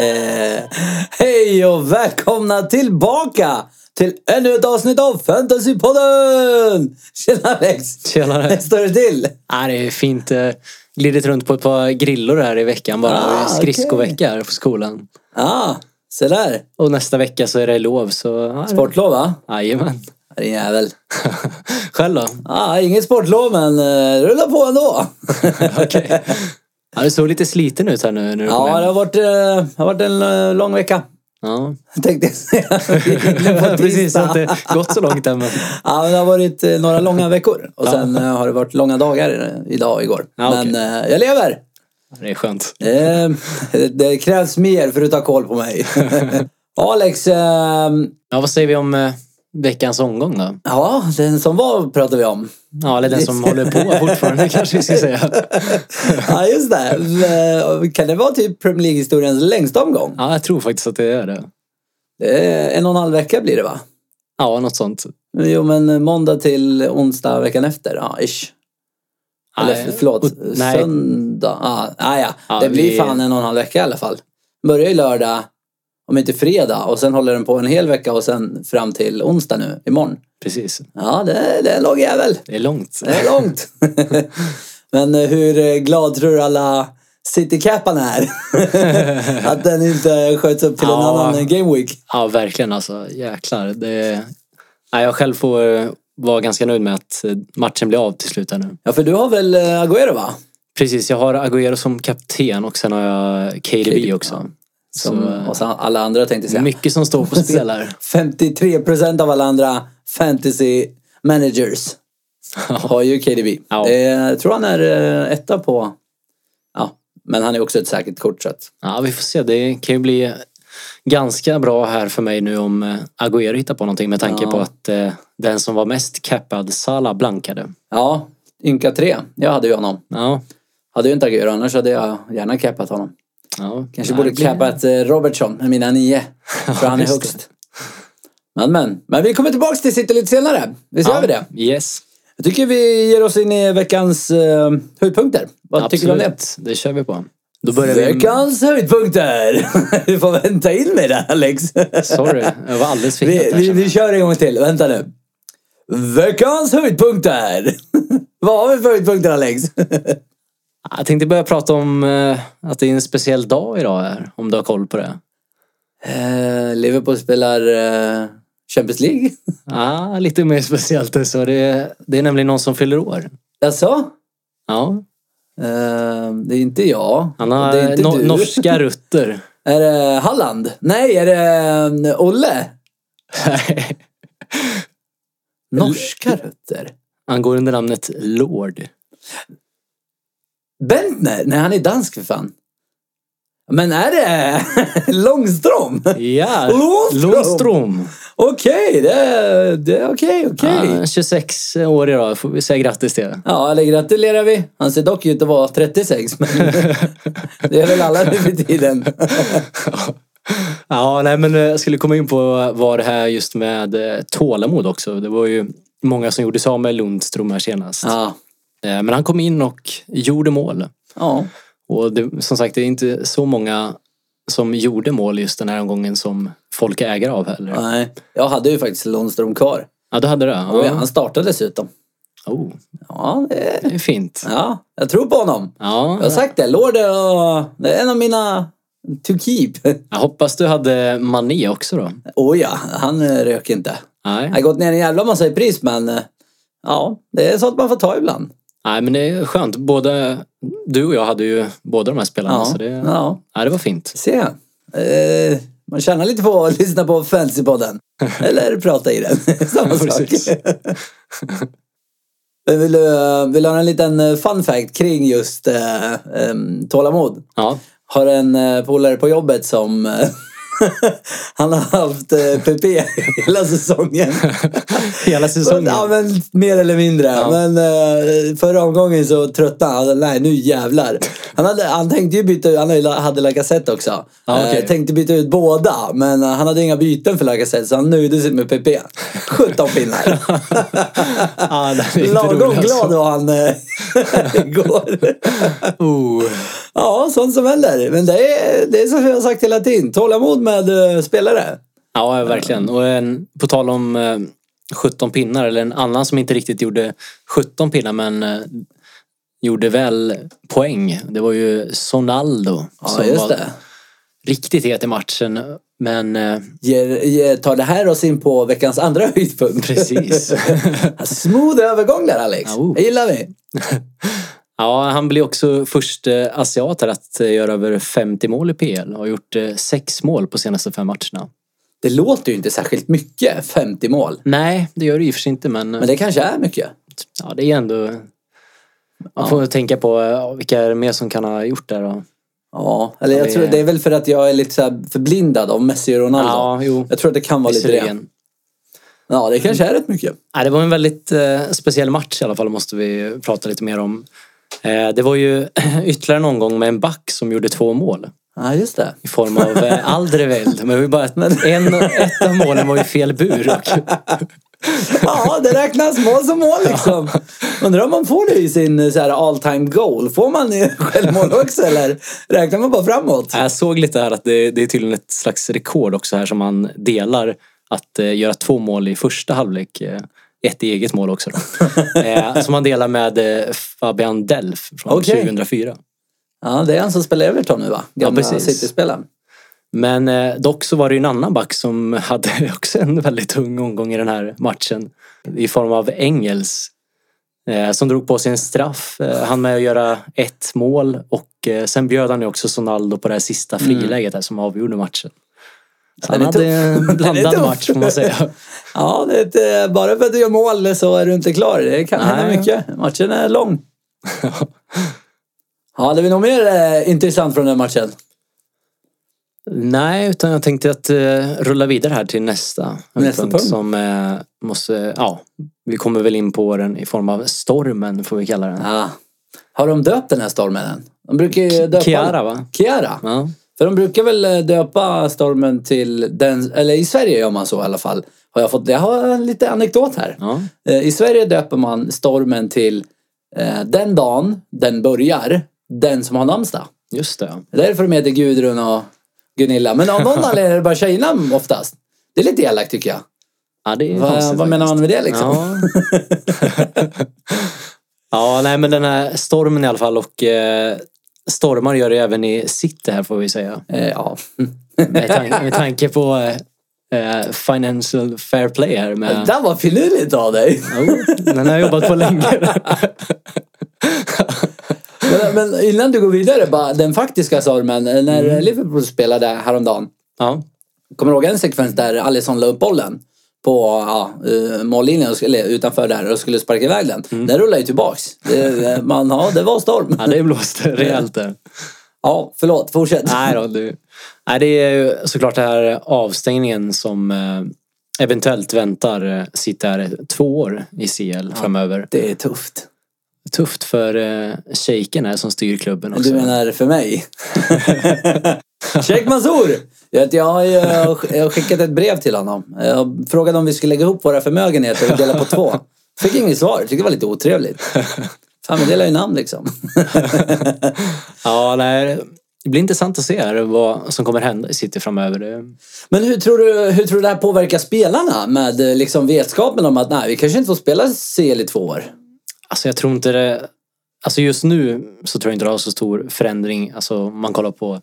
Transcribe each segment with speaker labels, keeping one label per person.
Speaker 1: Eh, Hej och välkomna tillbaka till ännu ett avsnitt av Fantasypodden! Tjena Alex!
Speaker 2: Tjenare.
Speaker 1: Hur står det till?
Speaker 2: Ja, det är fint. eh, Glidit runt på ett par grillor här i veckan bara.
Speaker 1: Ah,
Speaker 2: Skridskovecka här på skolan.
Speaker 1: Ja, ah, se där.
Speaker 2: Och nästa vecka så är det lov så... ja, det-
Speaker 1: Sportlov va?
Speaker 2: Jajamän.
Speaker 1: Ja, Din jävel.
Speaker 2: Själv då?
Speaker 1: Ah, inget sportlov men eh, rulla på ändå.
Speaker 2: Okej. Ja, du såg lite sliten ut här nu när du kom
Speaker 1: ja,
Speaker 2: hem.
Speaker 1: det har varit, eh, det har varit en eh, lång vecka.
Speaker 2: Ja.
Speaker 1: Tänkte jag säga. Vi gick in på
Speaker 2: Precis, det har
Speaker 1: tisdag.
Speaker 2: inte gått så långt än men...
Speaker 1: Ja, men det har varit eh, några långa veckor och sen eh, har det varit långa dagar eh, idag och igår.
Speaker 2: Ja, okej.
Speaker 1: Men eh, jag lever!
Speaker 2: Det är skönt.
Speaker 1: Eh, det- det krävs mer för att ta koll på mig. Alex, eh,
Speaker 2: Ja, vad säger vi om eh, veckans omgång då?
Speaker 1: ja, den som var pratar vi om.
Speaker 2: Ja, eller den som håller på fortfarande kanske vi ska säga.
Speaker 1: Ja, just det. Eh, Kan det vara typ Premier League-historiens längsta omgång?
Speaker 2: Ja, jag tror faktiskt att det är det.
Speaker 1: Det är En och en halv vecka blir det va?
Speaker 2: Ja, något sånt.
Speaker 1: Jo, men måndag till onsdag veckan efter. Ja, ish. Eller
Speaker 2: Nej.
Speaker 1: förlåt,
Speaker 2: Och- nej.
Speaker 1: söndag. Ja, ah, ja.
Speaker 2: Ja,
Speaker 1: det blir
Speaker 2: vi-
Speaker 1: fan en och en halv vecka i alla fall. Börjar ju lördag, om inte fredag, och sen håller den på en hel vecka och sen fram till onsdag nu, imorgon.
Speaker 2: Precis.
Speaker 1: Ja, det, är- det är en lång jävel.
Speaker 2: Det är långt.
Speaker 1: Det är långt. Men eh, hur eh, glad tror du alla Citycaparna är? att den inte sköts upp till en
Speaker 2: Ja.
Speaker 1: annan game week.
Speaker 2: Ja, verkligen alltså. Jäklar. Det... Ja, jag själv får eh, vara ganska nöjd med att eh, matchen blir av till slut här nu.
Speaker 1: Ja, för du har väl eh, Agüero va?
Speaker 2: Precis, jag har Agüero som kapten och sen har jag KDB också.
Speaker 1: Som,
Speaker 2: Så,
Speaker 1: och så alla andra tänkte jag
Speaker 2: eh,
Speaker 1: säga.
Speaker 2: mycket som står på spel här.
Speaker 1: 53 procent av alla andra fantasy managers har ju KDB.
Speaker 2: Ja.
Speaker 1: Det är- Jag tror han är eh, etta på... Ja, men han är också ett säkert kort. Så att,
Speaker 2: Ja, vi får se. Det kan ju bli ganska bra här för mig nu om eh, Agüero hittar på någonting med tanke
Speaker 1: Ja.
Speaker 2: på att eh, den som var mest cappad, Salah, blankade.
Speaker 1: ja, ynka tre. Jag hade ju honom.
Speaker 2: Ja.
Speaker 1: Hade ju inte Agüero annars hade jag gärna cappat honom.
Speaker 2: ja.
Speaker 1: Kanske
Speaker 2: Ja,
Speaker 1: borde
Speaker 2: det blir-
Speaker 1: cappat eh, Robertson med mina nio. För han är
Speaker 2: just
Speaker 1: högst. Men, men. Men vi kommer tillbaka till City lite senare. Visst gör vi det?
Speaker 2: Yes.
Speaker 1: Jag tycker vi ger oss in i veckans eh, höjdpunkter. Vad tycker du om det?
Speaker 2: Det kör vi på. Då börjar vi...
Speaker 1: Veckans höjdpunkter! Du får vänta in mig där Alex.
Speaker 2: Sorry, jag var alldeles för
Speaker 1: Vi,
Speaker 2: het där,
Speaker 1: vi,
Speaker 2: känner
Speaker 1: vi
Speaker 2: jag.
Speaker 1: kör en gång till, vänta nu. Veckans höjdpunkter! Vad har vi för höjdpunkter Alex?
Speaker 2: Jag tänkte börja prata om eh, att det är en speciell dag idag här, om du har koll på det.
Speaker 1: Eh, Liverpool spelar eh, Champions League.
Speaker 2: Ja, lite mer speciellt än så. Det är, det är nämligen någon som fyller år.
Speaker 1: Jaså?
Speaker 2: Ja,
Speaker 1: Alltså, Eh, det är inte jag.
Speaker 2: han
Speaker 1: det är
Speaker 2: har
Speaker 1: inte
Speaker 2: no-
Speaker 1: du.
Speaker 2: norska rötter.
Speaker 1: Är det Halland? Nej, är det eh, Olle? Norska rötter?
Speaker 2: han går under namnet Lord.
Speaker 1: Bentner? Nej, han är dansk för fan. Men är det Långström?
Speaker 2: Ja,
Speaker 1: Lundström.
Speaker 2: Lundström.
Speaker 1: Okej, det är det är okej, okej.
Speaker 2: Ja, 26 år idag, får vi säga grattis till det.
Speaker 1: Ja, eller gratulerar vi. Han ser dock ut att vara 36, men det är väl alla nu för tiden.
Speaker 2: Ja, nej, men eh, jag skulle komma in på var det här just med eh, tålamod också. Det var ju många som gjorde sig av med Lundström här senast.
Speaker 1: Ja.
Speaker 2: Eh, Men han kom in och gjorde mål.
Speaker 1: ja.
Speaker 2: Och det, som sagt, det är inte så många som gjorde mål just den här omgången som folk är ägare av heller.
Speaker 1: Nej. Jag hade ju faktiskt Lundström kvar.
Speaker 2: Ja, du hade det?
Speaker 1: Och
Speaker 2: Ja.
Speaker 1: han startade dessutom.
Speaker 2: Oh,
Speaker 1: Ja, det...
Speaker 2: det är fint.
Speaker 1: ja, jag tror på honom. Jag har
Speaker 2: Ja.
Speaker 1: sagt det. Lorde och... Det är en av mina to keep.
Speaker 2: Jag hoppas du hade Mané också då.
Speaker 1: Oh ja, han eh, rök inte.
Speaker 2: Nej,
Speaker 1: Han har gått ner en jävla massa i pris, men... eh, Ja, det är sånt man får ta ibland.
Speaker 2: Nej men det är skönt. Både du och jag hade ju båda de här spelarna.
Speaker 1: Ja,
Speaker 2: Så det, ja.
Speaker 1: ja.
Speaker 2: det var fint.
Speaker 1: Se. Eh, man tjänar lite på att lyssna på Fantasypodden. Eller prata i den. Samma sak.
Speaker 2: Precis.
Speaker 1: Men vill, du, eh, vill du ha en liten eh, fun fact kring just eh, em, tålamod?
Speaker 2: Ja.
Speaker 1: Har en eh, polare på jobbet som eh, han har haft eh, PP hela säsongen.
Speaker 2: Hela säsongen.
Speaker 1: Ja, men mer eller mindre.
Speaker 2: Ja.
Speaker 1: Men eh, förra omgången så tröttnade han. Nej, nu jävlar. Han, hade, han tänkte ju byta ut, han hade ju La- hade Lacazette också.
Speaker 2: Ja, okej.
Speaker 1: Eh, tänkte byta ut båda, men eh, han hade inga byten för Lacazette så han nöjde sig med PP. 17 pinnar.
Speaker 2: Ja, det är inte
Speaker 1: Lagom
Speaker 2: roligt, alltså.
Speaker 1: glad var han eh, igår.
Speaker 2: Oh.
Speaker 1: ja, sånt som händer. Men det är, det är som jag har sagt hela tiden. Tålamod med eh, spelare.
Speaker 2: Ja, verkligen. Och en, på tal om eh, 17 pinnar, eller en annan som inte riktigt gjorde 17 pinnar men eh, gjorde väl poäng. Det var ju Sonaldo.
Speaker 1: Ja, just det.
Speaker 2: riktigt het i matchen. Men eh,
Speaker 1: Ger, ger, tar det här oss in på veckans andra höjdpunkt.
Speaker 2: precis.
Speaker 1: Smooth övergång där Alex.
Speaker 2: Ja, oh.
Speaker 1: Det gillar vi.
Speaker 2: ja, han blir också först eh, asiat här att eh, göra över 50 mål i PL. Har gjort eh, sex mål på senaste fem matcherna.
Speaker 1: Det låter ju inte särskilt mycket, 50 mål.
Speaker 2: Nej, det gör det i och för sig inte men, eh,
Speaker 1: Men det kanske är mycket.
Speaker 2: ja, det är ändå... Man får tänka på eh, vilka är det mer som kan ha gjort det då.
Speaker 1: Ja, eller jag
Speaker 2: det-
Speaker 1: tror det är väl för att jag är lite så här förblindad av Messi och Ronaldo.
Speaker 2: Ja, jo.
Speaker 1: Jag tror att det kan vara lite det.
Speaker 2: Visserligen.
Speaker 1: Ja, det kanske är rätt mycket.
Speaker 2: Ja, det var en väldigt eh, speciell match i alla fall, måste vi prata lite mer om. Eh, det var ju ytterligare en omgång med en back som gjorde två mål
Speaker 1: Ja, just det.
Speaker 2: i form av eh, Aldreveld. Men det var ju bara att en, ett av målen var ju fel bur. Och,
Speaker 1: Ja, det räknas mål som mål liksom. Undrar om man får det i sin eh, så här, all time goal. Får man i självmål också eller räknar man bara framåt?
Speaker 2: jag såg lite här att det, det är tydligen ett slags rekord också här som man delar. Att eh, göra två mål i första halvlek. Eh, ett eget mål också. Då. Eh, som man delar med eh, Fabian Delf från
Speaker 1: Okej.
Speaker 2: 2004.
Speaker 1: Ja, det är han som spelar Everton nu va? Gamla
Speaker 2: Ja, precis.
Speaker 1: City-spelaren.
Speaker 2: Men eh, dock så var det ju en annan back som hade också en väldigt tung omgång i den här matchen. I form av Engels. Eh, som drog på sig en straff. Eh, han med att göra ett mål. Och eh, sen bjöd han ju också Sonaldo på det här sista friläget där som avgjorde matchen. Så
Speaker 1: Mm. Den
Speaker 2: han
Speaker 1: är
Speaker 2: hade
Speaker 1: tuff.
Speaker 2: en
Speaker 1: Den är
Speaker 2: blandad
Speaker 1: tuff.
Speaker 2: match får man säga.
Speaker 1: Ja, det är ett, eh, bara för att du gör mål så är du inte klar. Det kan hända
Speaker 2: Nej.
Speaker 1: mycket. Matchen är lång. Ja, det är något mer eh, intressant från den matchen.
Speaker 2: Nej, utan jag tänkte att eh, rulla vidare här till nästa,
Speaker 1: Nästa punkt.
Speaker 2: Som eh, måste, ja, vi kommer väl in på den i form av stormen får vi kalla den.
Speaker 1: Ja. Har de döpt den här stormen än? De brukar ju döpa...
Speaker 2: Chiara, va?
Speaker 1: Kiara.
Speaker 2: Ja.
Speaker 1: För de brukar väl eh, döpa stormen till den... Eller i Sverige gör man så i alla fall. Har jag fått... Jag har en liten anekdot här.
Speaker 2: Ja.
Speaker 1: Eh, I Sverige döper man stormen till eh, den dagen den börjar, den som har namnsdag.
Speaker 2: Just det.
Speaker 1: Det är därför de heter Gudrun och Gunilla. Men av någon anledning är det bara tjejnamn oftast. Det är lite elakt tycker jag.
Speaker 2: Ja, det är
Speaker 1: Va,
Speaker 2: konstigt
Speaker 1: vad menar man med det liksom?
Speaker 2: faktiskt. Ja. ja, nej men den här stormen i alla fall och eh, stormar gör det även i city här får vi säga.
Speaker 1: Eh, ja.
Speaker 2: Med, tan- med tanke på eh, eh, financial fair play här
Speaker 1: Det
Speaker 2: med...
Speaker 1: där var finurligt av dig.
Speaker 2: Jo, oh, den har jag jobbat på länge.
Speaker 1: Men, men innan du går vidare, bara den faktiska stormen. eh, När
Speaker 2: Mm.
Speaker 1: Liverpool spelade häromdagen.
Speaker 2: Ja,
Speaker 1: Kommer du ihåg en sekvens där Alisson la upp bollen? På ja, eh, mållinjen, och skulle- eller utanför där och skulle sparka iväg den. Den rullade ju tillbaks. Det, eh, man, ja, det var storm.
Speaker 2: ja det blåste rejält där.
Speaker 1: Ja, förlåt. Fortsätt.
Speaker 2: Nej då, det, nej, det är ju såklart den här avstängningen som eh, eventuellt väntar eh, City här två år i CL framöver.
Speaker 1: Det är tufft.
Speaker 2: Tufft för eh, shejken här som styr klubben också.
Speaker 1: Du menar för mig? Sheikh Mansour! Jag, vet, jag har ju jag har skickat ett brev till honom. Jag frågade om vi skulle lägga ihop våra förmögenheter och dela på två. Fick inget svar. Tyckte det var lite otrevligt. Fan, vi delar ju namn liksom.
Speaker 2: Ja, nej, det blir intressant att se här vad som kommer hända i City framöver. Det-
Speaker 1: Men hur tror du, hur tror du det här påverkar spelarna med eh, liksom vetskapen om att nej, vi kanske inte får spela CL i två år?
Speaker 2: Alltså jag tror inte det... Alltså just nu så tror jag inte det har så stor förändring. Alltså om man kollar på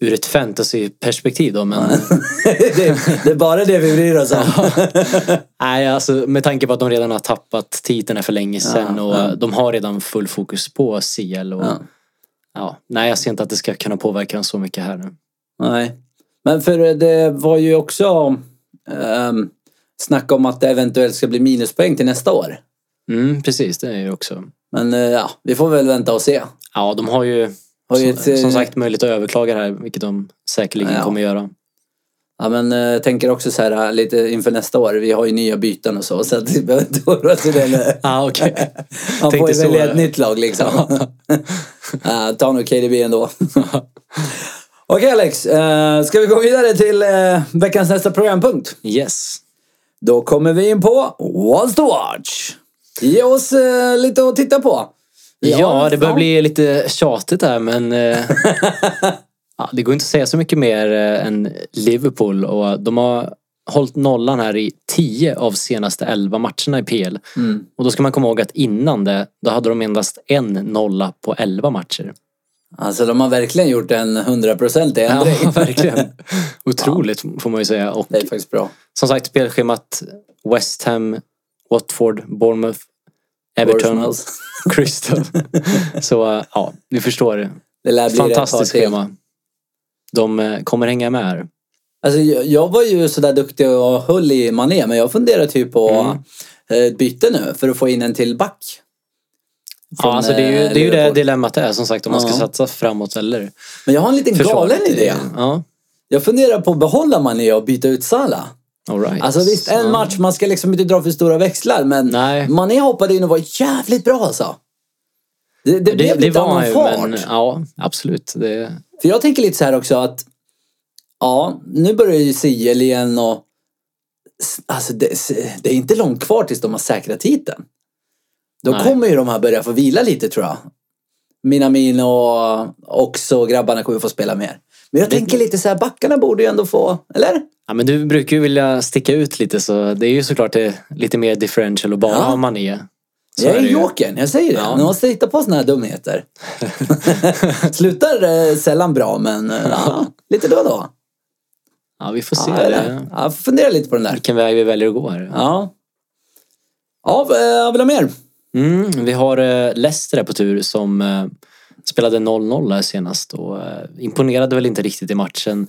Speaker 2: ur ett fantasyperspektiv då. Men
Speaker 1: det, är- det är bara det vi bryr oss om.
Speaker 2: nej, alltså med tanke på att de redan har tappat titeln för länge sedan och de har redan full fokus på CL. Och,
Speaker 1: Ja.
Speaker 2: ja. nej, jag ser inte att det ska kunna påverka så mycket här nu.
Speaker 1: Nej. Men för eh, det var ju också um, snack om att det eventuellt ska bli minuspoäng till nästa år.
Speaker 2: Mm, precis, det är ju också.
Speaker 1: Men eh, ja, vi får väl vänta och se.
Speaker 2: Ja, de har ju
Speaker 1: Har ju
Speaker 2: som,
Speaker 1: ett, eh,
Speaker 2: som sagt möjlighet att överklaga det här, vilket de säkerligen
Speaker 1: Ja.
Speaker 2: kommer göra.
Speaker 1: Ja, men eh, jag tänker också så här eh, lite inför nästa år. Vi har ju nya byten och så. Så att vi behöver inte oroa oss för det nu.
Speaker 2: Ah, okay.
Speaker 1: Man får
Speaker 2: Tänkte
Speaker 1: ju
Speaker 2: så,
Speaker 1: välja
Speaker 2: ja.
Speaker 1: ett nytt lag liksom. uh, ta nog KDB ändå. Okej Alex, eh, ska vi gå vidare till eh, veckans nästa programpunkt?
Speaker 2: yes.
Speaker 1: Då kommer vi in på What's to watch. Ge oss eh, lite att titta på.
Speaker 2: Ja, det börjar bli lite tjatigt här men... eh, Ja, det går inte att säga så mycket mer eh, än Liverpool och de har hållit nollan här i 10 av senaste 11 matcherna i PL.
Speaker 1: Mm.
Speaker 2: Och då ska man komma ihåg att innan det, då hade de endast en nolla på 11 matcher.
Speaker 1: Alltså de har verkligen gjort en hundraprocentig
Speaker 2: Ja,
Speaker 1: ändring.
Speaker 2: verkligen. Otroligt får man ju säga. Och
Speaker 1: Det är faktiskt bra.
Speaker 2: som sagt, spelschemat West Ham, Watford, Bournemouth, Everton,
Speaker 1: Bournemouth.
Speaker 2: Crystal. Så eh, ja, ni förstår. det.
Speaker 1: Det lär bli det ett par
Speaker 2: Fantastiskt
Speaker 1: till.
Speaker 2: schema. De eh, kommer hänga med här.
Speaker 1: Alltså, jag, jag var ju sådär duktig och höll i Mané, men jag funderar typ på
Speaker 2: Mm.
Speaker 1: eh, ett byte nu för att få in en till back. Från,
Speaker 2: Ja, alltså det är ju
Speaker 1: eh,
Speaker 2: det, är ju det
Speaker 1: Liverpool.
Speaker 2: dilemmat är som sagt om man ska
Speaker 1: Ja.
Speaker 2: satsa framåt eller
Speaker 1: Men jag har en liten
Speaker 2: försvaret.
Speaker 1: galen idé.
Speaker 2: Ja,
Speaker 1: Jag funderar på att behålla Mané och byta ut Salah.
Speaker 2: all right.
Speaker 1: Alltså visst, en
Speaker 2: Ja.
Speaker 1: match, man ska liksom inte dra för stora växlar, men
Speaker 2: Mm. Nej.
Speaker 1: Mané hoppade in och var jävligt bra alltså. Det, det,
Speaker 2: Det,
Speaker 1: blev
Speaker 2: det
Speaker 1: lite
Speaker 2: var
Speaker 1: annan
Speaker 2: ju,
Speaker 1: fart.
Speaker 2: men ja, absolut. Det,
Speaker 1: För jag tänker lite så här också att ja, nu börjar ju CL igen och alltså det, det är inte långt kvar tills de har säkrat titeln. Då
Speaker 2: Nej.
Speaker 1: kommer ju de här börja få vila lite tror jag. Minamino och också grabbarna kommer få spela mer. Men jag tänker lite så här, backarna borde ju ändå få, eller?
Speaker 2: ja, men du brukar ju vilja sticka ut lite så det är ju såklart det, lite mer differential och bara
Speaker 1: Ja.
Speaker 2: ja. man är. Så
Speaker 1: jag är
Speaker 2: det ju.
Speaker 1: jokern, jag säger det.
Speaker 2: Ja.
Speaker 1: Ni måste hitta på såna här dumheter. Slutar eh, sällan bra, men eh, ja, lite då och då.
Speaker 2: Ja, vi får se
Speaker 1: Ja,
Speaker 2: det,
Speaker 1: eller? ja, fundera lite på den där.
Speaker 2: vilken väg vi väljer att gå här.
Speaker 1: Ja. Ja, v- eh, jag vill ha mer.
Speaker 2: Mm, vi har eh, Leicester här på tur som eh, spelade 0-0 här senast och eh, imponerade väl inte riktigt i matchen.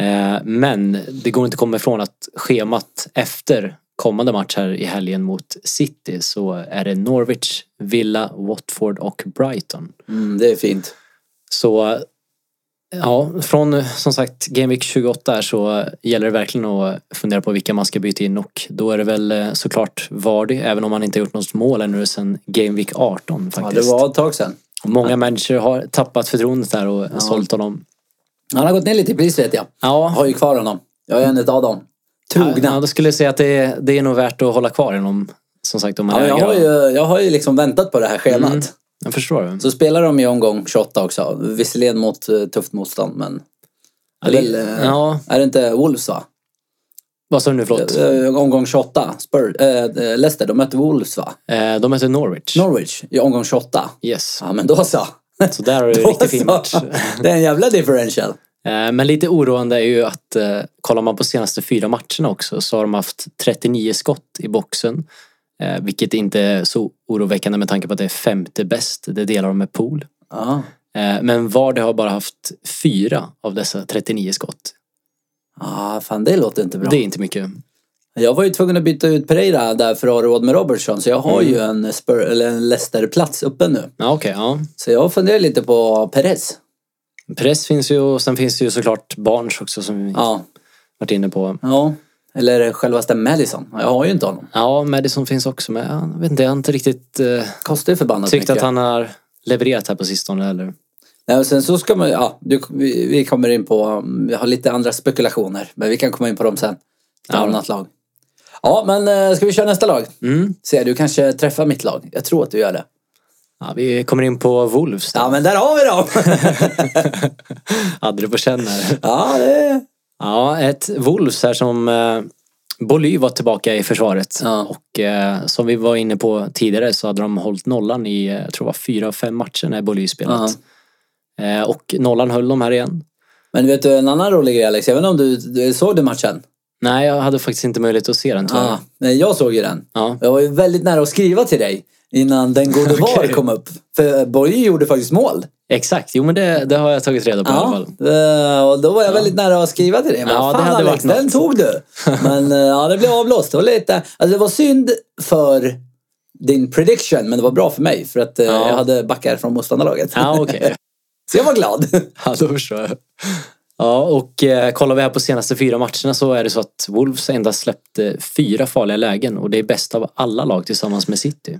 Speaker 2: Eh, men det går inte att komma ifrån att schemat efter kommande match här i helgen mot City så är det Norwich, Villa, Watford och Brighton.
Speaker 1: Mm, det är fint.
Speaker 2: Så eh, ja, från eh, som sagt Game Week 28 här så eh, gäller det verkligen att fundera på vilka man ska byta in och då är det väl eh, såklart Vardy även om han inte har gjort något mål ännu sedan Game Week 18
Speaker 1: Ja,
Speaker 2: faktiskt.
Speaker 1: det var ett tag sedan.
Speaker 2: Många människor har tappat förtroendet där och sålt honom.
Speaker 1: Han har gått ner lite i pris vet jag.
Speaker 2: Ja,
Speaker 1: Jag har ju kvar honom. Jag är en av dem. Trogna.
Speaker 2: Ja, då skulle jag säga att det är, det är nog värt att hålla kvar honom. Som sagt om man
Speaker 1: Ja, jag,
Speaker 2: äger
Speaker 1: har ju,
Speaker 2: honom.
Speaker 1: jag har ju liksom väntat på det här schemat.
Speaker 2: Mm. Jag förstår. det.
Speaker 1: Så spelar de i omgång 28 också. Visserligen mot eh, tufft motstånd, men...
Speaker 2: Ja,
Speaker 1: det är väl,
Speaker 2: det,
Speaker 1: eh,
Speaker 2: ja,
Speaker 1: Är det inte Wolves va?
Speaker 2: vad sa du nu förlåt?
Speaker 1: Eh, Omgång 28. Spur, eh, eh, Leicester, de mötte Wolves va?
Speaker 2: Eh, De möter Norwich.
Speaker 1: Norwich i omgång 28.
Speaker 2: Yes,
Speaker 1: Ja, men då så.
Speaker 2: så där har du en
Speaker 1: Då
Speaker 2: riktigt fin
Speaker 1: så.
Speaker 2: match.
Speaker 1: Det är en jävla differential.
Speaker 2: Eh, Men lite oroande är ju att eh, kollar man på senaste fyra matcherna också så har de haft 39 skott i boxen. Eh, vilket inte är så oroväckande med tanke på att det är femte bäst. Det delar de med pool.
Speaker 1: Ja.
Speaker 2: Eh, men Vardy har bara haft fyra av dessa 39 skott.
Speaker 1: Ja, fan det låter inte bra.
Speaker 2: Det är inte mycket.
Speaker 1: Jag var ju tvungen att byta ut Pereira där för att ha råd med Robertson. Så jag har
Speaker 2: Mm.
Speaker 1: ju en, Spur- eller en Leicester-plats uppe nu.
Speaker 2: Ja, okej. ja.
Speaker 1: Så jag funderar lite på Perez.
Speaker 2: Press finns ju och sen finns det ju såklart Barnes också som vi
Speaker 1: Ja.
Speaker 2: varit inne på.
Speaker 1: ja. Eller självaste Madison. Jag har ju inte honom.
Speaker 2: Ja, Madison finns också med. Jag vet inte, jag har inte riktigt eh,
Speaker 1: Kostar ju förbannat
Speaker 2: tyckt att
Speaker 1: mycket.
Speaker 2: han har levererat här på sistone eller.
Speaker 1: Nej, och sen så ska man, ja, du, vi, vi kommer in på, um, vi har lite andra spekulationer. Men vi kan komma in på dem sen. Ett
Speaker 2: Ja.
Speaker 1: annat lag. Ja, men eh, ska vi köra nästa lag?
Speaker 2: Mm.
Speaker 1: Se, du kanske träffar mitt lag. Jag tror att du gör det.
Speaker 2: Ja, vi kommer in på Wolves.
Speaker 1: Ja,
Speaker 2: Ja.
Speaker 1: men där har vi dem!
Speaker 2: Hade det på känn här.
Speaker 1: ja, det...
Speaker 2: Ja, ett Wolves här som eh, Boly var tillbaka i försvaret.
Speaker 1: Ja.
Speaker 2: Och eh, som vi var inne på tidigare så hade de hållit nollan i, eh, jag tror det var fyra av fem matcher när Boly spelat. Eh, och nollan höll de här igen.
Speaker 1: Men vet du en annan rolig grej Alex? Jag vet inte om du, du såg den matchen?
Speaker 2: Nej, jag hade faktiskt inte möjlighet att se den tyvärr.
Speaker 1: Ja. Nej, jag såg ju den.
Speaker 2: Ja.
Speaker 1: Jag var ju väldigt nära att skriva till dig innan den gode VAR
Speaker 2: Okej.
Speaker 1: kom upp. För Borg gjorde faktiskt mål.
Speaker 2: Exakt, jo men det, det har jag tagit reda på i alla
Speaker 1: Ja.
Speaker 2: fall.
Speaker 1: Eh, Och då var jag väldigt nära att skriva till dig. Men
Speaker 2: Ja,
Speaker 1: fan,
Speaker 2: det hade
Speaker 1: Alex,
Speaker 2: varit
Speaker 1: den
Speaker 2: något.
Speaker 1: tog du. Men eh, ja, det blev avblåst. Det var lite... Alltså det var synd för din prediction, men det var bra för mig. För att eh,
Speaker 2: Ja.
Speaker 1: jag hade backar från motståndarlaget.
Speaker 2: Ja, okej.
Speaker 1: Så jag var glad.
Speaker 2: Ja, då förstår jag. Ja, och eh, kollar vi här på senaste fyra matcherna så är det så att Wolves endast släppte fyra farliga lägen och det är bäst av alla lag tillsammans med City.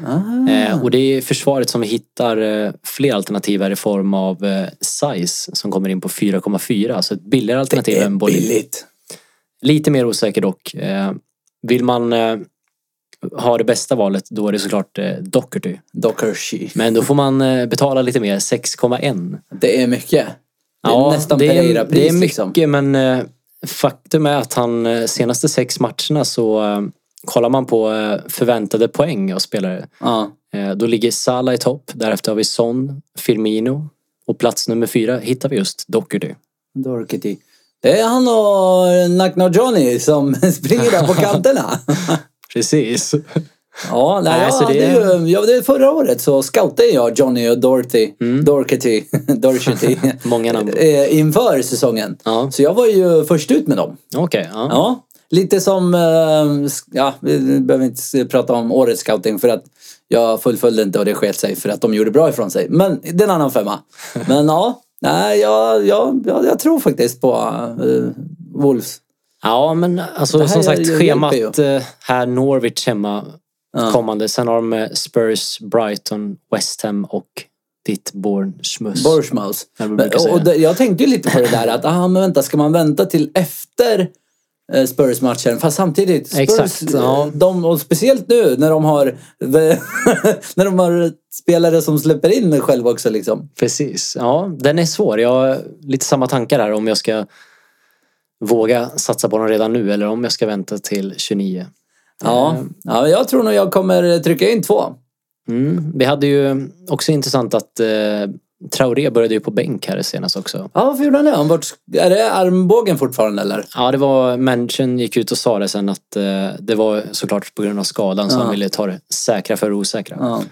Speaker 2: Eh, och det
Speaker 1: Mm.
Speaker 2: är försvaret som vi hittar eh, fler alternativ här i form av eh, size som kommer in på 4,4. Så alltså ett billigare alternativ
Speaker 1: Det är
Speaker 2: än Bolivia.
Speaker 1: billigt.
Speaker 2: Lite mer osäker dock. Eh, vill man eh, ha det bästa valet då är det såklart eh, Doherty.
Speaker 1: Docker Shee.
Speaker 2: Men då får man eh, betala lite mer, 6,1.
Speaker 1: Det är mycket. Det är nästan Pereira-pris,
Speaker 2: Det är mycket,
Speaker 1: liksom.
Speaker 2: men eh, faktum är att han eh, senaste sex matcherna så eh, kollar man på eh, förväntade poäng av spelare.
Speaker 1: Ja.
Speaker 2: Eh, då ligger Salah i topp. Därefter har vi Son, Firmino och plats nummer fyra hittar vi just Doherty.
Speaker 1: Dorkety. Det är han och Nakno Johnny som springer där på kanterna.
Speaker 2: Precis.
Speaker 1: Ja, nej,
Speaker 2: Nej,
Speaker 1: ja,
Speaker 2: så det-
Speaker 1: det... är ju, ja, det är förra året så scoutade jag Johnny och Dorothy, Dorkety, Dorkety
Speaker 2: Mm. Många namn.
Speaker 1: eh, inför säsongen.
Speaker 2: Ja.
Speaker 1: Så jag var ju först ut med dem.
Speaker 2: Okej. ja.
Speaker 1: Ja, lite som, eh, sk- ja, vi behöver inte s- prata om årets scouting för att jag fullföljde inte och det sket sig för att de gjorde bra ifrån sig. Men det är en annan femma. Men ja, nej, jag, jag, jag, jag tror faktiskt på eh, Wolves.
Speaker 2: Ja, men alltså
Speaker 1: Det här
Speaker 2: som
Speaker 1: hjälper
Speaker 2: sagt
Speaker 1: ju.
Speaker 2: schemat eh, här Norwich hemma kommande. Sen har de eh, Spurs, Brighton, West Ham och ditt Bournemouth.
Speaker 1: Borsmaus.
Speaker 2: Ja, men brukar säga.
Speaker 1: Och det, jag tänkte ju lite på det där att, ah, men vänta, ska man vänta till efter eh, Spurs-matchen? Fast samtidigt, Spurs,
Speaker 2: Exakt, ja.
Speaker 1: eh, de, och speciellt nu när de har när de har spelare som släpper in själva också liksom.
Speaker 2: Precis. Ja, den är svår. Jag har lite samma tankar här om jag ska våga satsa på den redan nu eller om jag ska vänta till 29.
Speaker 1: Ja, ja men jag tror nog jag kommer trycka in två.
Speaker 2: Mm. Vi hade ju också intressant att eh, Traoré började ju på bänk här senast också.
Speaker 1: Ja, varför gjorde han det? Han vart, är det armbågen fortfarande eller?
Speaker 2: Ja, det var Manchin gick ut och sa det sen att eh, det var såklart på grund av skadan så
Speaker 1: Ja.
Speaker 2: han ville ta det säkra för det osäkra.
Speaker 1: Ja,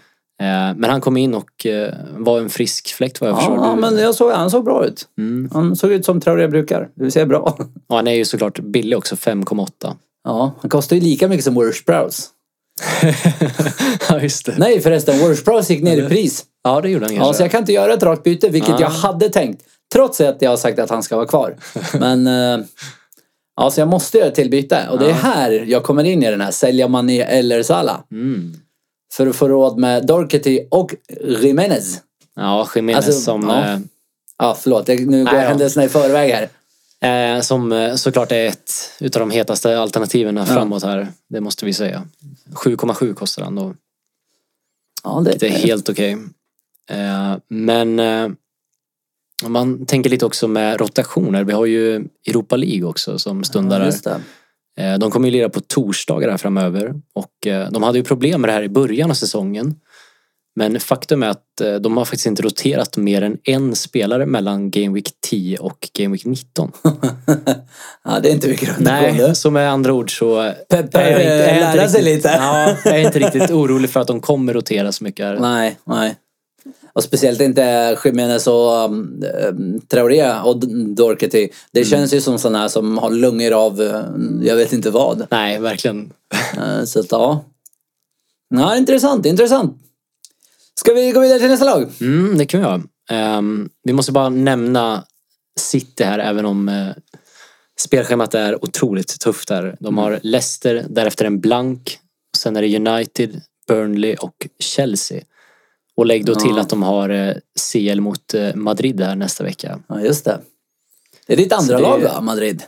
Speaker 2: Eh, men han kom in och eh, var en frisk fläkt vad jag förstår.
Speaker 1: ja
Speaker 2: Du-
Speaker 1: men jag såg, han såg bra ut.
Speaker 2: mm.
Speaker 1: Han såg ut som Traoré brukar, det vill säga bra.
Speaker 2: och han är ju såklart billig också, 5,8.
Speaker 1: Ja, han kostar ju lika mycket som Worsprouse.
Speaker 2: ja, just det.
Speaker 1: Nej förresten, Worsprouse gick ner i pris.
Speaker 2: Ja, det gjorde han
Speaker 1: Ja, så
Speaker 2: kanske.
Speaker 1: jag kan inte göra ett rakt byte, vilket
Speaker 2: Ah.
Speaker 1: jag hade tänkt. Trots att jag har sagt att han ska vara kvar. Men... Eh, ja, så jag måste göra ett till byte. Och det är här jag kommer in i den här sälja Mané eller Salah.
Speaker 2: Mm.
Speaker 1: För att få råd med Dorkety och Jiménez.
Speaker 2: Ja, Jiménez
Speaker 1: Alltså,
Speaker 2: som,
Speaker 1: ja. Ja, förlåt. Jag, nu går
Speaker 2: Nej
Speaker 1: jag
Speaker 2: då.
Speaker 1: händelserna i förväg här.
Speaker 2: eh, eh, som eh, såklart är ett utav de hetaste alternativen framåt här. Det måste vi säga. 7,7 kostar han då.
Speaker 1: Ja, det,
Speaker 2: Det är helt okej. Eh, men eh, om man tänker lite också med rotationer. Vi har ju Europa League också som stundar
Speaker 1: ja,
Speaker 2: här.
Speaker 1: just det.
Speaker 2: Eh, De kommer ju lira på torsdagar här framöver och eh, de hade ju problem med det här i början av säsongen. Men faktum är att eh, de har faktiskt inte roterat mer än en spelare mellan Game Week 10 och Game Week 19.
Speaker 1: Ja, det är inte mycket rotation du.
Speaker 2: Nej, så med andra ord så är
Speaker 1: Peppe
Speaker 2: jag inte- är jag inte
Speaker 1: lära eh, sig
Speaker 2: riktigt-
Speaker 1: lite.
Speaker 2: Ja, jag är inte riktigt orolig för att de kommer rotera så mycket här.
Speaker 1: Nej, nej. Och speciellt inte Jiménez och um, um, Traoré och D- Dorkety. Det
Speaker 2: Mm.
Speaker 1: känns ju som sådana här som har lungor av eh, jag vet inte vad.
Speaker 2: Nej, verkligen.
Speaker 1: Eh, så att, ja. ja. Intressant, intressant. Ska vi gå vidare till nästa lag?
Speaker 2: Mm, det kan vi göra. Ehm, vi måste bara nämna City här, även om eh, spelschemat är otroligt tufft där. De
Speaker 1: Mm.
Speaker 2: har Leicester, därefter en blank. Sen är det United, Burnley och Chelsea. Och lägg då till att de har eh, CL mot eh, Madrid här nästa vecka.
Speaker 1: Ja, just det. Det är ditt andra
Speaker 2: det-
Speaker 1: lag va, Madrid?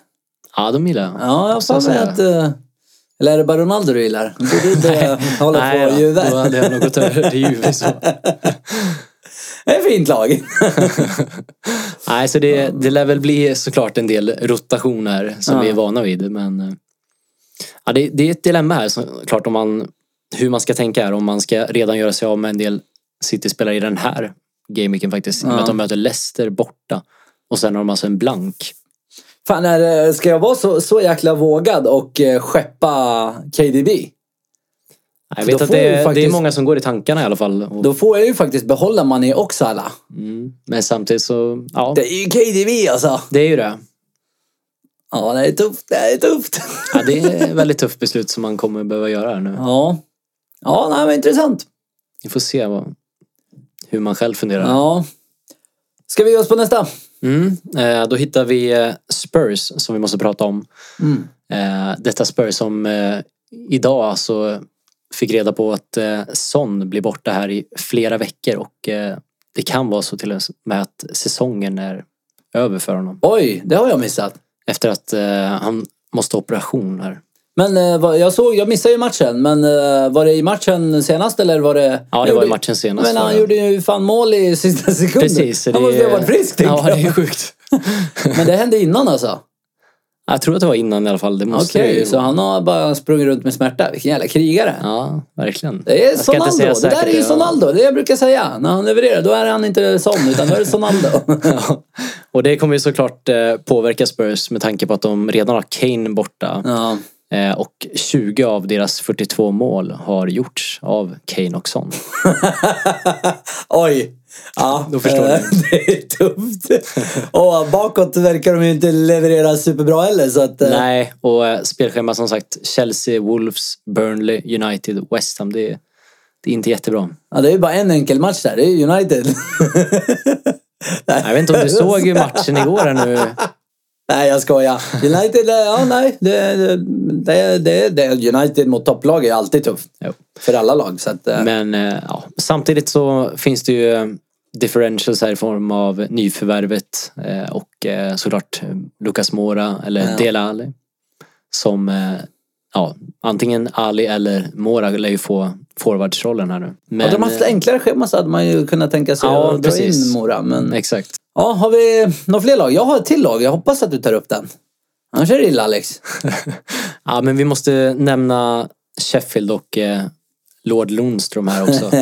Speaker 2: Ja, de gillar jag.
Speaker 1: Ja, jag har
Speaker 2: måste
Speaker 1: för mig
Speaker 2: säga.
Speaker 1: att... eh, eller är det bara Ronaldo du gillar? Du borde inte hålla på
Speaker 2: Nej,
Speaker 1: och
Speaker 2: då,
Speaker 1: ljuga.
Speaker 2: då hade jag nog gått över till Juve. så.
Speaker 1: Det är ett fint lag.
Speaker 2: Nej, så det, det lär väl bli såklart en del rotationer som
Speaker 1: Ja.
Speaker 2: vi är vana vid. Men eh, ja, det, det är ett dilemma här såklart om man, hur man ska tänka här. Om man ska redan göra sig av med en del City-spelare i den här gameweeken faktiskt. I och med
Speaker 1: Ja.
Speaker 2: att de möter Leicester borta. Och sen har de alltså en blank.
Speaker 1: Fan, är, det- ska jag vara så, så jäkla vågad och eh, skeppa KDB? Då
Speaker 2: Jag vet att
Speaker 1: får
Speaker 2: det,
Speaker 1: ju
Speaker 2: är- det är
Speaker 1: faktiskt-
Speaker 2: många som går i tankarna i alla fall. Och,
Speaker 1: Då får jag ju faktiskt behålla Mané och Salah.
Speaker 2: mm, men samtidigt så, ja. Det,
Speaker 1: Det är ju KDB alltså.
Speaker 2: är ju det.
Speaker 1: Ja, det är tufft. Det är tufft.
Speaker 2: Ja, det är ett väldigt tufft beslut som man kommer behöva göra här nu.
Speaker 1: Ja. Ja, nej, men intressant.
Speaker 2: Vi får se vad, hur man själv funderar.
Speaker 1: Ja. Ska vi ge oss på nästa?
Speaker 2: Mm, eh, då hittar vi eh, Spurs som vi måste prata om.
Speaker 1: Mm.
Speaker 2: Eh, Detta Spurs som eh, idag alltså fick reda på att eh, Son blir borta här i flera veckor och eh, det kan vara så till och med att säsongen är över för honom.
Speaker 1: Oj, det har jag missat.
Speaker 2: Efter att eh, han måste ha operation här.
Speaker 1: Men eh, vad- jag såg, jag missade ju matchen. Men eh, var det i matchen senast eller var det?
Speaker 2: Ja, det
Speaker 1: Jag
Speaker 2: var ju
Speaker 1: gjorde-
Speaker 2: matchen senast.
Speaker 1: Men
Speaker 2: var
Speaker 1: han
Speaker 2: det.
Speaker 1: gjorde ju fan mål i sista sekunden.
Speaker 2: Precis. så
Speaker 1: Han måste ju ha varit frisk, tänker
Speaker 2: Ja, det
Speaker 1: jag.
Speaker 2: är sjukt.
Speaker 1: Men det hände innan alltså?
Speaker 2: Jag tror att det var innan i alla fall. Det måste
Speaker 1: Okej,
Speaker 2: det ju-
Speaker 1: så han har bara sprungit runt med smärta. Vilken jävla krigare.
Speaker 2: Ja, verkligen.
Speaker 1: Det är
Speaker 2: Jag ska inte
Speaker 1: Sonaldo.
Speaker 2: säga
Speaker 1: Det där
Speaker 2: säkert,
Speaker 1: är ju
Speaker 2: ja.
Speaker 1: Sonaldo. Det jag brukar säga. När han levererar, då är han inte Son, utan då är det Sonaldo.
Speaker 2: Och det kommer ju såklart eh, påverka Spurs med tanke på att de redan har Kane borta.
Speaker 1: ja.
Speaker 2: Eh, och 20 av deras 42 mål har gjorts av Kane och Son.
Speaker 1: Oj. Ja,
Speaker 2: Då förstår
Speaker 1: eh, Det är tufft. Och bakåt verkar de ju inte leverera superbra heller. Så att, eh,
Speaker 2: Nej, och eh, spelschema som sagt Chelsea, Wolves, Burnley, United, West Ham. Det är, det är inte jättebra.
Speaker 1: ja, det är ju bara en enkel match där. Det är ju United.
Speaker 2: Jag vet inte om du såg matchen igår här nu.
Speaker 1: Nej, jag skojar. United, eh, ja nej. Det, det, det, det, United mot topplag är ju alltid tufft.
Speaker 2: Jo.
Speaker 1: För alla lag. Så att, eh,
Speaker 2: Men eh, ja. samtidigt så finns det ju eh, differentials här i form av nyförvärvet eh, och eh, såklart eh, Lucas Moura eller
Speaker 1: Ja.
Speaker 2: Dele Alli. Som eh, ja, antingen Ali eller Moura lär ju få forwardsrollen här nu. Men,
Speaker 1: hade de haft
Speaker 2: eh,
Speaker 1: enklare schema så hade man ju kunnat tänka sig
Speaker 2: Ja,
Speaker 1: att dra in
Speaker 2: precis.
Speaker 1: Mora. Men...
Speaker 2: eh, Exakt.
Speaker 1: Ja, har vi några fler lag? Jag har ett till lag. Jag hoppas att du tar upp den. Annars är det illa Alex.
Speaker 2: Ja, men vi måste nämna Sheffield och eh, Lord Lundström här också.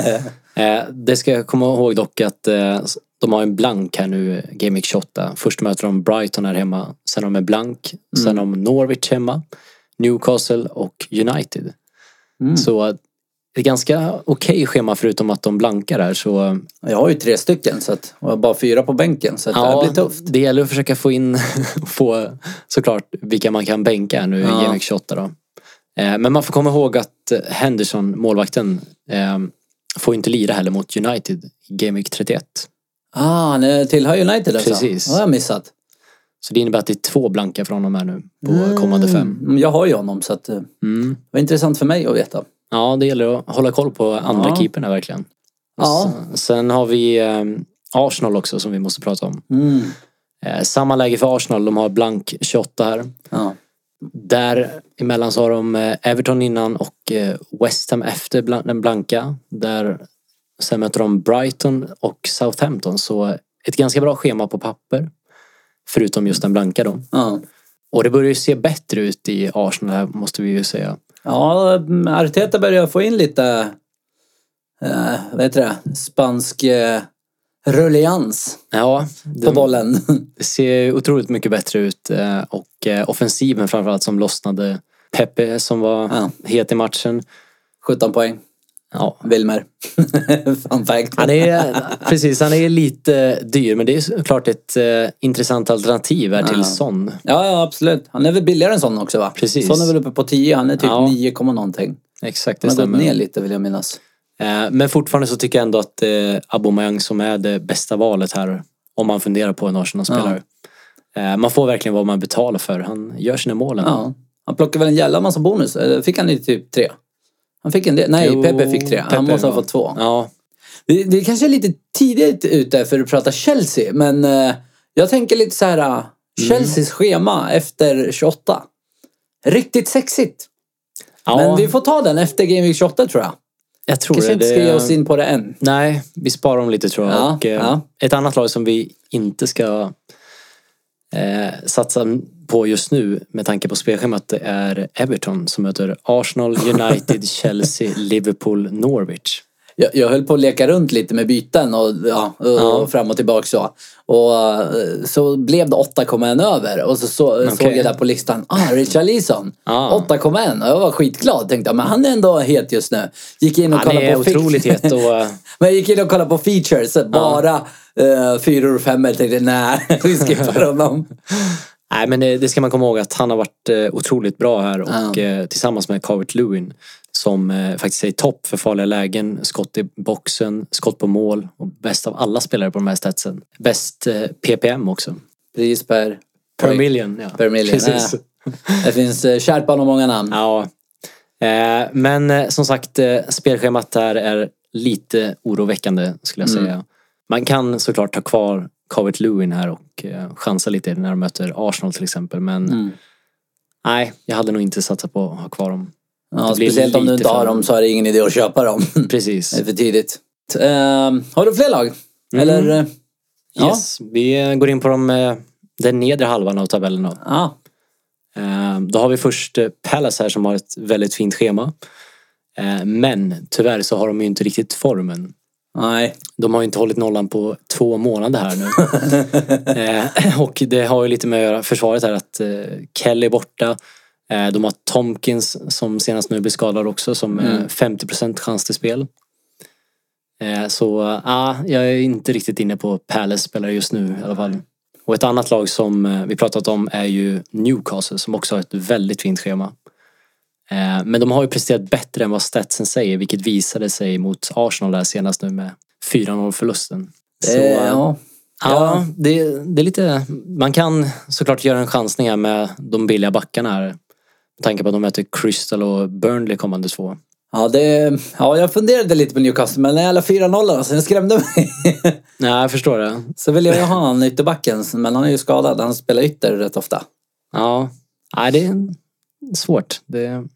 Speaker 2: eh, det ska jag komma ihåg dock att eh, de har en blank här nu, Game Week 28. Först möter de Brighton här hemma, sen har de en blank, sen har de Norwich hemma, Newcastle och United. Så eh, det är ganska okej schema förutom att de blankar här. Så, eh,
Speaker 1: Jag har ju tre stycken så att, och jag har bara fyra på bänken så att det här blir tufft.
Speaker 2: det gäller att försöka få in få, såklart vilka man kan bänka här nu i
Speaker 1: Ja.
Speaker 2: Game Week 28. Då. Eh, Men man får komma ihåg att Henderson, målvakten, eh, får inte lira heller mot United i Game Week 31.
Speaker 1: Ah, han eh, tillhör United alltså?
Speaker 2: Precis.
Speaker 1: Det har jag missat.
Speaker 2: Så det innebär att det är två blanka från honom här nu på kommande fem.
Speaker 1: Mm, jag har ju honom så att, eh,
Speaker 2: Mm.
Speaker 1: det var intressant för mig att veta.
Speaker 2: Ja, det gäller att hålla koll på andra
Speaker 1: Ja.
Speaker 2: keeperna verkligen.
Speaker 1: Ja.
Speaker 2: S- Sen har vi eh, Arsenal också som vi måste prata om.
Speaker 1: Mm.
Speaker 2: Eh, Samma läge för Arsenal, de har blank 28 här.
Speaker 1: Ja.
Speaker 2: Däremellan så har de eh, Everton innan och eh, West Ham efter blan- den blanka. Där sen möter de Brighton och Southampton. Så ett ganska bra schema på papper. Förutom just den blanka då.
Speaker 1: Ja.
Speaker 2: Och det börjar ju se bättre ut i Arsenal här måste vi ju säga.
Speaker 1: ja, mm, Arteta börjar få in lite, eh, vad heter det, spansk eh, rullians
Speaker 2: Ja,
Speaker 1: på
Speaker 2: det,
Speaker 1: bollen.
Speaker 2: det ser ju otroligt mycket bättre ut. eh, Och eh, offensiven framförallt som lossnade. Pepe som var
Speaker 1: Ja.
Speaker 2: het i matchen.
Speaker 1: 17 poäng.
Speaker 2: Ja,
Speaker 1: Wilmer. Fun fact.
Speaker 2: Han är, precis, han är lite dyr men det är såklart ett eh, intressant alternativ här till
Speaker 1: Ja.
Speaker 2: Son.
Speaker 1: Ja, ja, absolut. Han är väl billigare än sån också va?
Speaker 2: Precis.
Speaker 1: Sån är väl uppe på 10, han är typ
Speaker 2: Ja.
Speaker 1: 9, komma någonting.
Speaker 2: Exakt, det
Speaker 1: Han har gått
Speaker 2: stämmer.
Speaker 1: ner lite vill jag minnas.
Speaker 2: Eh, men fortfarande så tycker jag ändå att eh, Aubameyang som är det bästa valet här om man funderar på en Arsenal-spelare. Eh, man får verkligen vad man betalar för. Han gör sina mål ändå.
Speaker 1: Ja. Han plockade väl en jävla massa bonus. Eller Fick han inte typ tre? Han fick en del. Nej,
Speaker 2: Jo,
Speaker 1: Pepe fick tre. Han
Speaker 2: Pepe,
Speaker 1: måste ha
Speaker 2: ja.
Speaker 1: fått två.
Speaker 2: Ja,
Speaker 1: Det, det kanske är lite tidigt ute för att prata Chelsea, men eh, jag tänker lite så här. eh,
Speaker 2: Mm.
Speaker 1: Chelseas schema efter 28. Riktigt sexigt.
Speaker 2: ja
Speaker 1: Men vi får ta den efter Game Week 28 tror jag.
Speaker 2: jag tror
Speaker 1: Kanske
Speaker 2: det.
Speaker 1: inte
Speaker 2: det
Speaker 1: ska ge oss in på det än.
Speaker 2: Nej, vi sparar dem lite tror jag.
Speaker 1: Ja,
Speaker 2: och, eh,
Speaker 1: ja.
Speaker 2: Ett annat lag som vi inte ska eh, satsa på just nu med tanke på spelschemat det är Everton som möter Arsenal, United, Chelsea, Liverpool, Norwich.
Speaker 1: Jag, jag höll på att leka runt lite med byten och, ja, och
Speaker 2: Ja.
Speaker 1: fram och tillbaka så. Och eh, så blev det 8,1 över och så, så såg jag där på listan, ah, Richarlison,
Speaker 2: Ja.
Speaker 1: 8,1 och jag var skitglad. Tänkte jag, men han är ändå het just nu. Gick in och
Speaker 2: Han
Speaker 1: kollade
Speaker 2: är
Speaker 1: på fi-
Speaker 2: otroligt het och eh,
Speaker 1: Men jag gick in och kollade på features, bara eh, fyror och femmor. Tänkte nej, vi skippar honom.
Speaker 2: Nej men eh, det, det ska man komma ihåg att han har varit eh, otroligt bra här och
Speaker 1: Ja.
Speaker 2: eh, tillsammans med Calvert Lewin som eh, faktiskt är i topp för farliga lägen, skott i boxen, skott på mål och bäst av alla spelare på de här statsen. Bäst eh, PPM också.
Speaker 1: Pris per,
Speaker 2: Per million, ja.
Speaker 1: per million.
Speaker 2: Precis.
Speaker 1: Ja. Det finns eh, kärpan och många namn.
Speaker 2: Ja. Eh, Men eh, som sagt, eh, spelschemat där är lite oroväckande skulle jag
Speaker 1: Mm.
Speaker 2: säga. Man kan såklart ta kvar Covert Lewin här och eh, chansa lite när de möter Arsenal till exempel. Men
Speaker 1: Mm.
Speaker 2: nej, jag hade nog inte satsat på att ha kvar dem.
Speaker 1: Ja,
Speaker 2: Det blir
Speaker 1: speciellt om du
Speaker 2: lite
Speaker 1: inte har
Speaker 2: för-
Speaker 1: dem så är det ingen idé att köpa dem.
Speaker 2: Precis.
Speaker 1: Det är för tidigt.
Speaker 2: Mm.
Speaker 1: Ehm, har du fler lag? Eller? eh, Ja.
Speaker 2: Yes, vi eh, går in på de eh, den nedre halvan av tabellen. Då.
Speaker 1: Ah,
Speaker 2: Eh, Då har vi först eh, Palace här som har ett väldigt fint schema. Eh, Men tyvärr så har de ju inte riktigt formen.
Speaker 1: nej.
Speaker 2: De har ju inte hållit nollan på två månader här nu. Eh, Och det har ju lite med att göra, försvaret här att eh, Kelly är borta. Eh, De har Tomkins som senast nu blev skadad också som eh,
Speaker 1: Mm.
Speaker 2: 50% chans till spel. Eh, Så ah, jag är inte riktigt inne på Palace spelare just nu i alla fall. Och ett annat lag som eh, vi pratat om är ju Newcastle som också har ett väldigt fint schema. Eh, Men de har ju presterat bättre än vad statsen säger vilket visade sig mot Arsenal där senast nu med 4-0 förlusten. Så,
Speaker 1: Eh,
Speaker 2: eh,
Speaker 1: ja. Ja.
Speaker 2: Ja, det, det är lite... Man kan såklart göra en chansning här med de billiga backarna här. Med tanke på att de möter Crystal och Burnley kommande två.
Speaker 1: Ja, det, ja, jag funderade lite på Newcastle, men den jävla 4-0 så den alltså, skrämde mig.
Speaker 2: Nej, jag förstår det.
Speaker 1: så ville jag ju ha han ytterbacken, men han är ju skadad. Han spelar ytter rätt ofta.
Speaker 2: Ja, Nej, det är svårt. Det...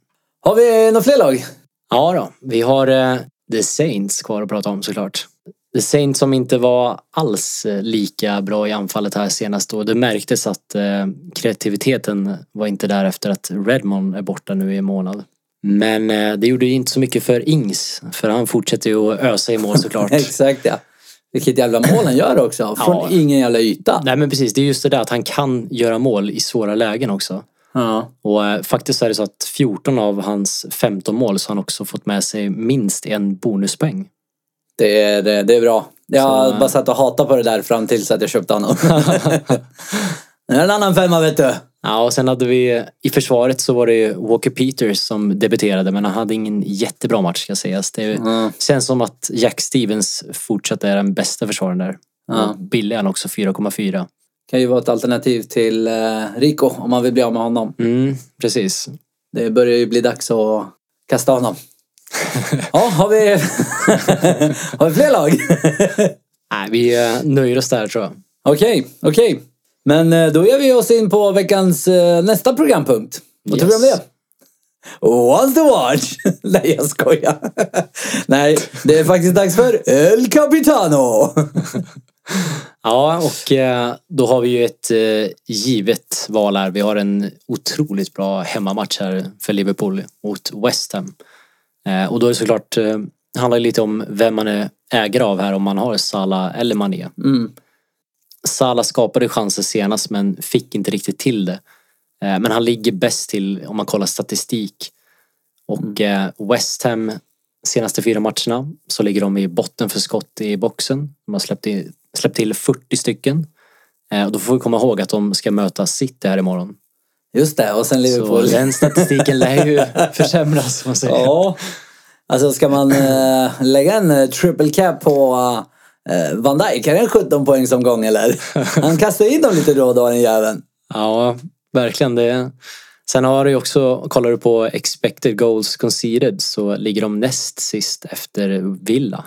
Speaker 1: Har vi några fler lag?
Speaker 2: Ja då, vi har eh, The Saints kvar att prata om såklart. The Saints som inte var alls eh, lika bra i anfallet här senast och det märktes att eh, kreativiteten var inte där efter att Redmond är borta nu i en månad. Men eh, det gjorde ju inte så mycket för Ings, för han fortsätter ju att ösa i mål såklart.
Speaker 1: Exakt ja. Vilket jävla mål han gör också. Från
Speaker 2: Ja.
Speaker 1: ingen jävla yta.
Speaker 2: Nej men precis, det är just det där att han kan göra mål i svåra lägen också.
Speaker 1: Ja.
Speaker 2: Och eh, faktiskt är det så att 14 av hans 15 mål så har han också fått med sig minst en bonuspeng.
Speaker 1: Det, är, det, det är bra. Jag har
Speaker 2: Så- eh.
Speaker 1: bara satt och hatat på det där fram tills att jag köpte honom. det är en annan femma vet du.
Speaker 2: Ja, och sen hade vi i försvaret så var det ju Walker Peters som debuterade men han hade ingen jättebra match ska sägas. Det
Speaker 1: Mm.
Speaker 2: känns som att Jack Stevens fortsatt är den bästa försvararen där.
Speaker 1: Ja.
Speaker 2: Och Billig är han också, 4,4.
Speaker 1: Kan ju vara ett alternativ till eh, Rico om man vill bli av med honom.
Speaker 2: Mm, precis.
Speaker 1: Det börjar ju bli dags att kasta honom. ja, har vi, har vi fler lag?
Speaker 2: Nej, vi eh, nöjer oss där tror jag.
Speaker 1: Okej, okej. Men eh, då ger vi oss in på veckans eh, nästa programpunkt. Vad tror du om
Speaker 2: Yes.
Speaker 1: det? Once to watch! Nej, jag skojar. Nej, det är faktiskt dags för El Capitano!
Speaker 2: Ja, och eh, då har vi ju ett eh, givet val här. Vi har en otroligt bra hemmamatch här för Liverpool mot West Ham. Eh, Och då är det såklart, eh, handlar ju lite om vem man är ägare av här, om man har Salah eller Mané.
Speaker 1: Mm.
Speaker 2: Salah skapade chanser senast men fick inte riktigt till det. Eh, Men han ligger bäst till om man kollar statistik.
Speaker 1: Mm.
Speaker 2: Och eh, West Ham senaste fyra matcherna så ligger de i botten för skott i boxen. De har släppt, i, släppt till 40 stycken. Eh, Och då får vi komma ihåg att de ska möta City här imorgon.
Speaker 1: Just det, och sen
Speaker 2: Så
Speaker 1: Liverpool.
Speaker 2: den statistiken lär ju försämras. om Man säger.
Speaker 1: Ja. Alltså ska man eh, lägga en eh, triple cap på eh, Van Dijk? Är det en 17 poängsomgång eller? Han kastar in dem lite då och då den jäveln.
Speaker 2: Ja, verkligen. Det. Sen har du ju också, kollar du på expected goals conceded så ligger de näst sist efter Villa.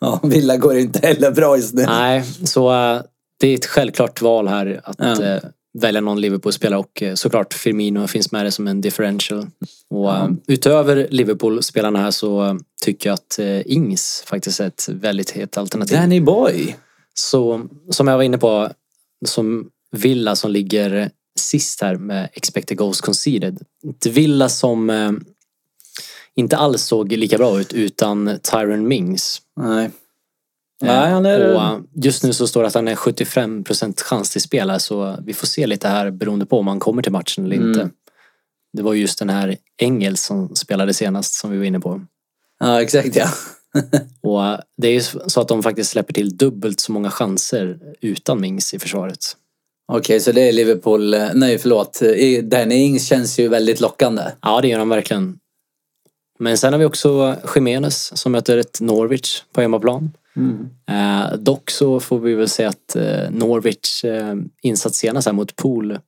Speaker 1: Ja, Villa går inte heller bra just nu.
Speaker 2: Nej, så eh, det är ett självklart val här att
Speaker 1: Ja.
Speaker 2: eh, välja någon Liverpool-spelare och eh, såklart Firmino finns med det som en differential. Och eh, utöver Liverpool-spelarna här så eh, tycker jag att eh, Ings faktiskt är ett väldigt hett alternativ.
Speaker 1: Danny Boy.
Speaker 2: Så som jag var inne på, som Villa som ligger sist här med expected goals conceded. Ett Villa som eh, inte alls såg lika bra ut utan Tyron Mings.
Speaker 1: Nej. Nej, han är...
Speaker 2: Och eh, just nu så står det att han är 75% chans till spel här, så vi får se lite här beroende på om han kommer till matchen eller inte.
Speaker 1: Mm.
Speaker 2: Det var just den här Engels som spelade senast som vi var inne på.
Speaker 1: Ja, exakt ja.
Speaker 2: Och eh, det är ju så att de faktiskt släpper till dubbelt så många chanser utan Mings i försvaret.
Speaker 1: Okej, så det är Liverpool... eh, Nej, förlåt. Eh, Danny Ings känns ju väldigt lockande.
Speaker 2: Ja, det gör han verkligen. Men sen har vi också Jiménez som möter ett Norwich på hemmaplan. Eh, dock så får vi väl säga att eh, Norwich eh, insats senast här mot Pool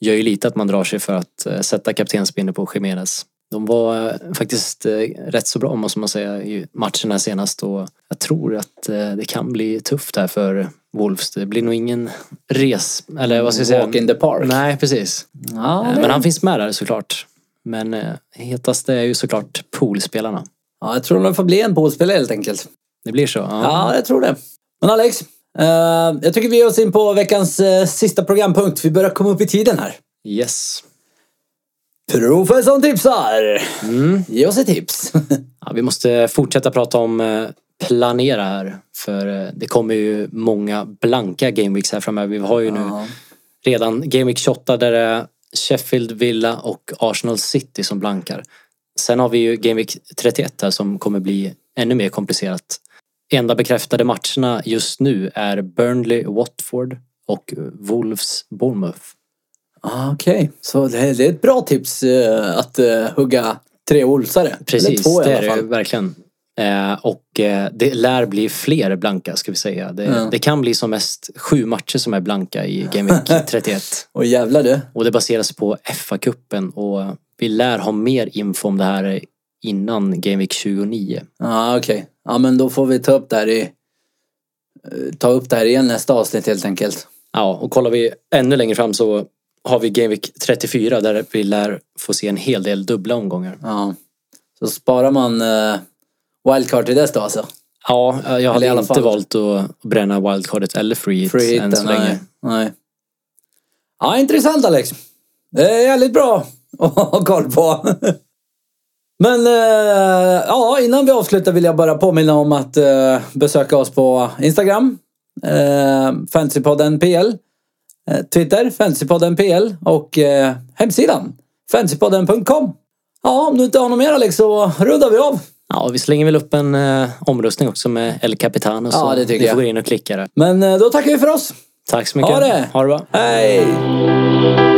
Speaker 2: gör ju lite att man drar sig för att eh, sätta kaptensbindeln på Jiménez. De var eh, faktiskt eh, rätt så bra måste man säga i matchen här senast och jag tror att eh, det kan bli tufft här för Wolves. Det blir nog ingen res... Eller vad ska jag säga?
Speaker 1: Walk in the park.
Speaker 2: Nej, precis.
Speaker 1: Ja,
Speaker 2: Eh,
Speaker 1: det-
Speaker 2: Men han finns med där såklart. Men eh, hetast är ju såklart poolspelarna.
Speaker 1: ja, jag tror de får bli en polspelare helt enkelt.
Speaker 2: Det blir så. Ja.
Speaker 1: Ja, jag tror det. Men Alex, Eh, jag tycker vi ger oss in på veckans eh, sista programpunkt. Vi börjar komma upp i tiden här.
Speaker 2: Yes.
Speaker 1: Professorn tipsar! Ge oss ett tips.
Speaker 2: Mm. Ja, vi måste fortsätta prata om eh, planera här. För eh, det kommer ju många blanka gameweeks här framöver. Vi har ju nu redan gameweek 28 där det är Sheffield, Villa och Arsenal City som blankar. Sen har vi ju gameweek 31 här som kommer bli ännu mer komplicerat. Enda bekräftade matcherna just nu är Burnley, Watford och Wolves, Bournemouth.
Speaker 1: Ah, Okej, så det, det är ett bra tips eh, att eh, hugga tre olsare. Eller
Speaker 2: Precis,
Speaker 1: två
Speaker 2: det
Speaker 1: i
Speaker 2: är
Speaker 1: alla
Speaker 2: det
Speaker 1: fall.
Speaker 2: verkligen. Eh, och eh, det lär bli fler blanka ska vi säga. Det,
Speaker 1: Ja.
Speaker 2: det kan bli som mest sju matcher som är blanka i Game Week 31.
Speaker 1: Och jävlar du.
Speaker 2: Och det baseras på FA-cupen och vi lär ha mer info om det här innan Game Week 29.
Speaker 1: Ja, okej. Ja, men då får vi ta upp det här i... eh, Ta upp det här igen nästa avsnitt helt enkelt.
Speaker 2: Ja, och kollar vi ännu längre fram så har vi Game Week 34 där vi lär få se en hel del dubbla omgångar.
Speaker 1: Ja. Så sparar man eh, wildcard till dess då alltså?
Speaker 2: Ja, jag hade
Speaker 1: i alla
Speaker 2: inte
Speaker 1: fall-
Speaker 2: valt att bränna wildcardet eller free hit
Speaker 1: Free
Speaker 2: än
Speaker 1: hiten,
Speaker 2: så länge.
Speaker 1: nej. nej. Ja, intressant Alex. Det är jävligt bra att ha koll på. Men eh, ja, innan vi avslutar vill jag bara påminna om att eh, besöka oss på Instagram, eh, Fantasypodden PL, eh, Twitter, Fantasypodden PL och eh, hemsidan, fantasypodden.com. Ja, om du inte har något mer Alex så rundar vi av.
Speaker 2: Ja, vi slänger väl upp en eh, omröstning också med El Capitano.
Speaker 1: Ja,
Speaker 2: så
Speaker 1: det tycker
Speaker 2: ni
Speaker 1: jag.
Speaker 2: får gå in och klicka där.
Speaker 1: Men eh, då tackar vi för oss.
Speaker 2: Tack så mycket.
Speaker 1: Ha det!
Speaker 2: Ha det bra.
Speaker 1: Hej!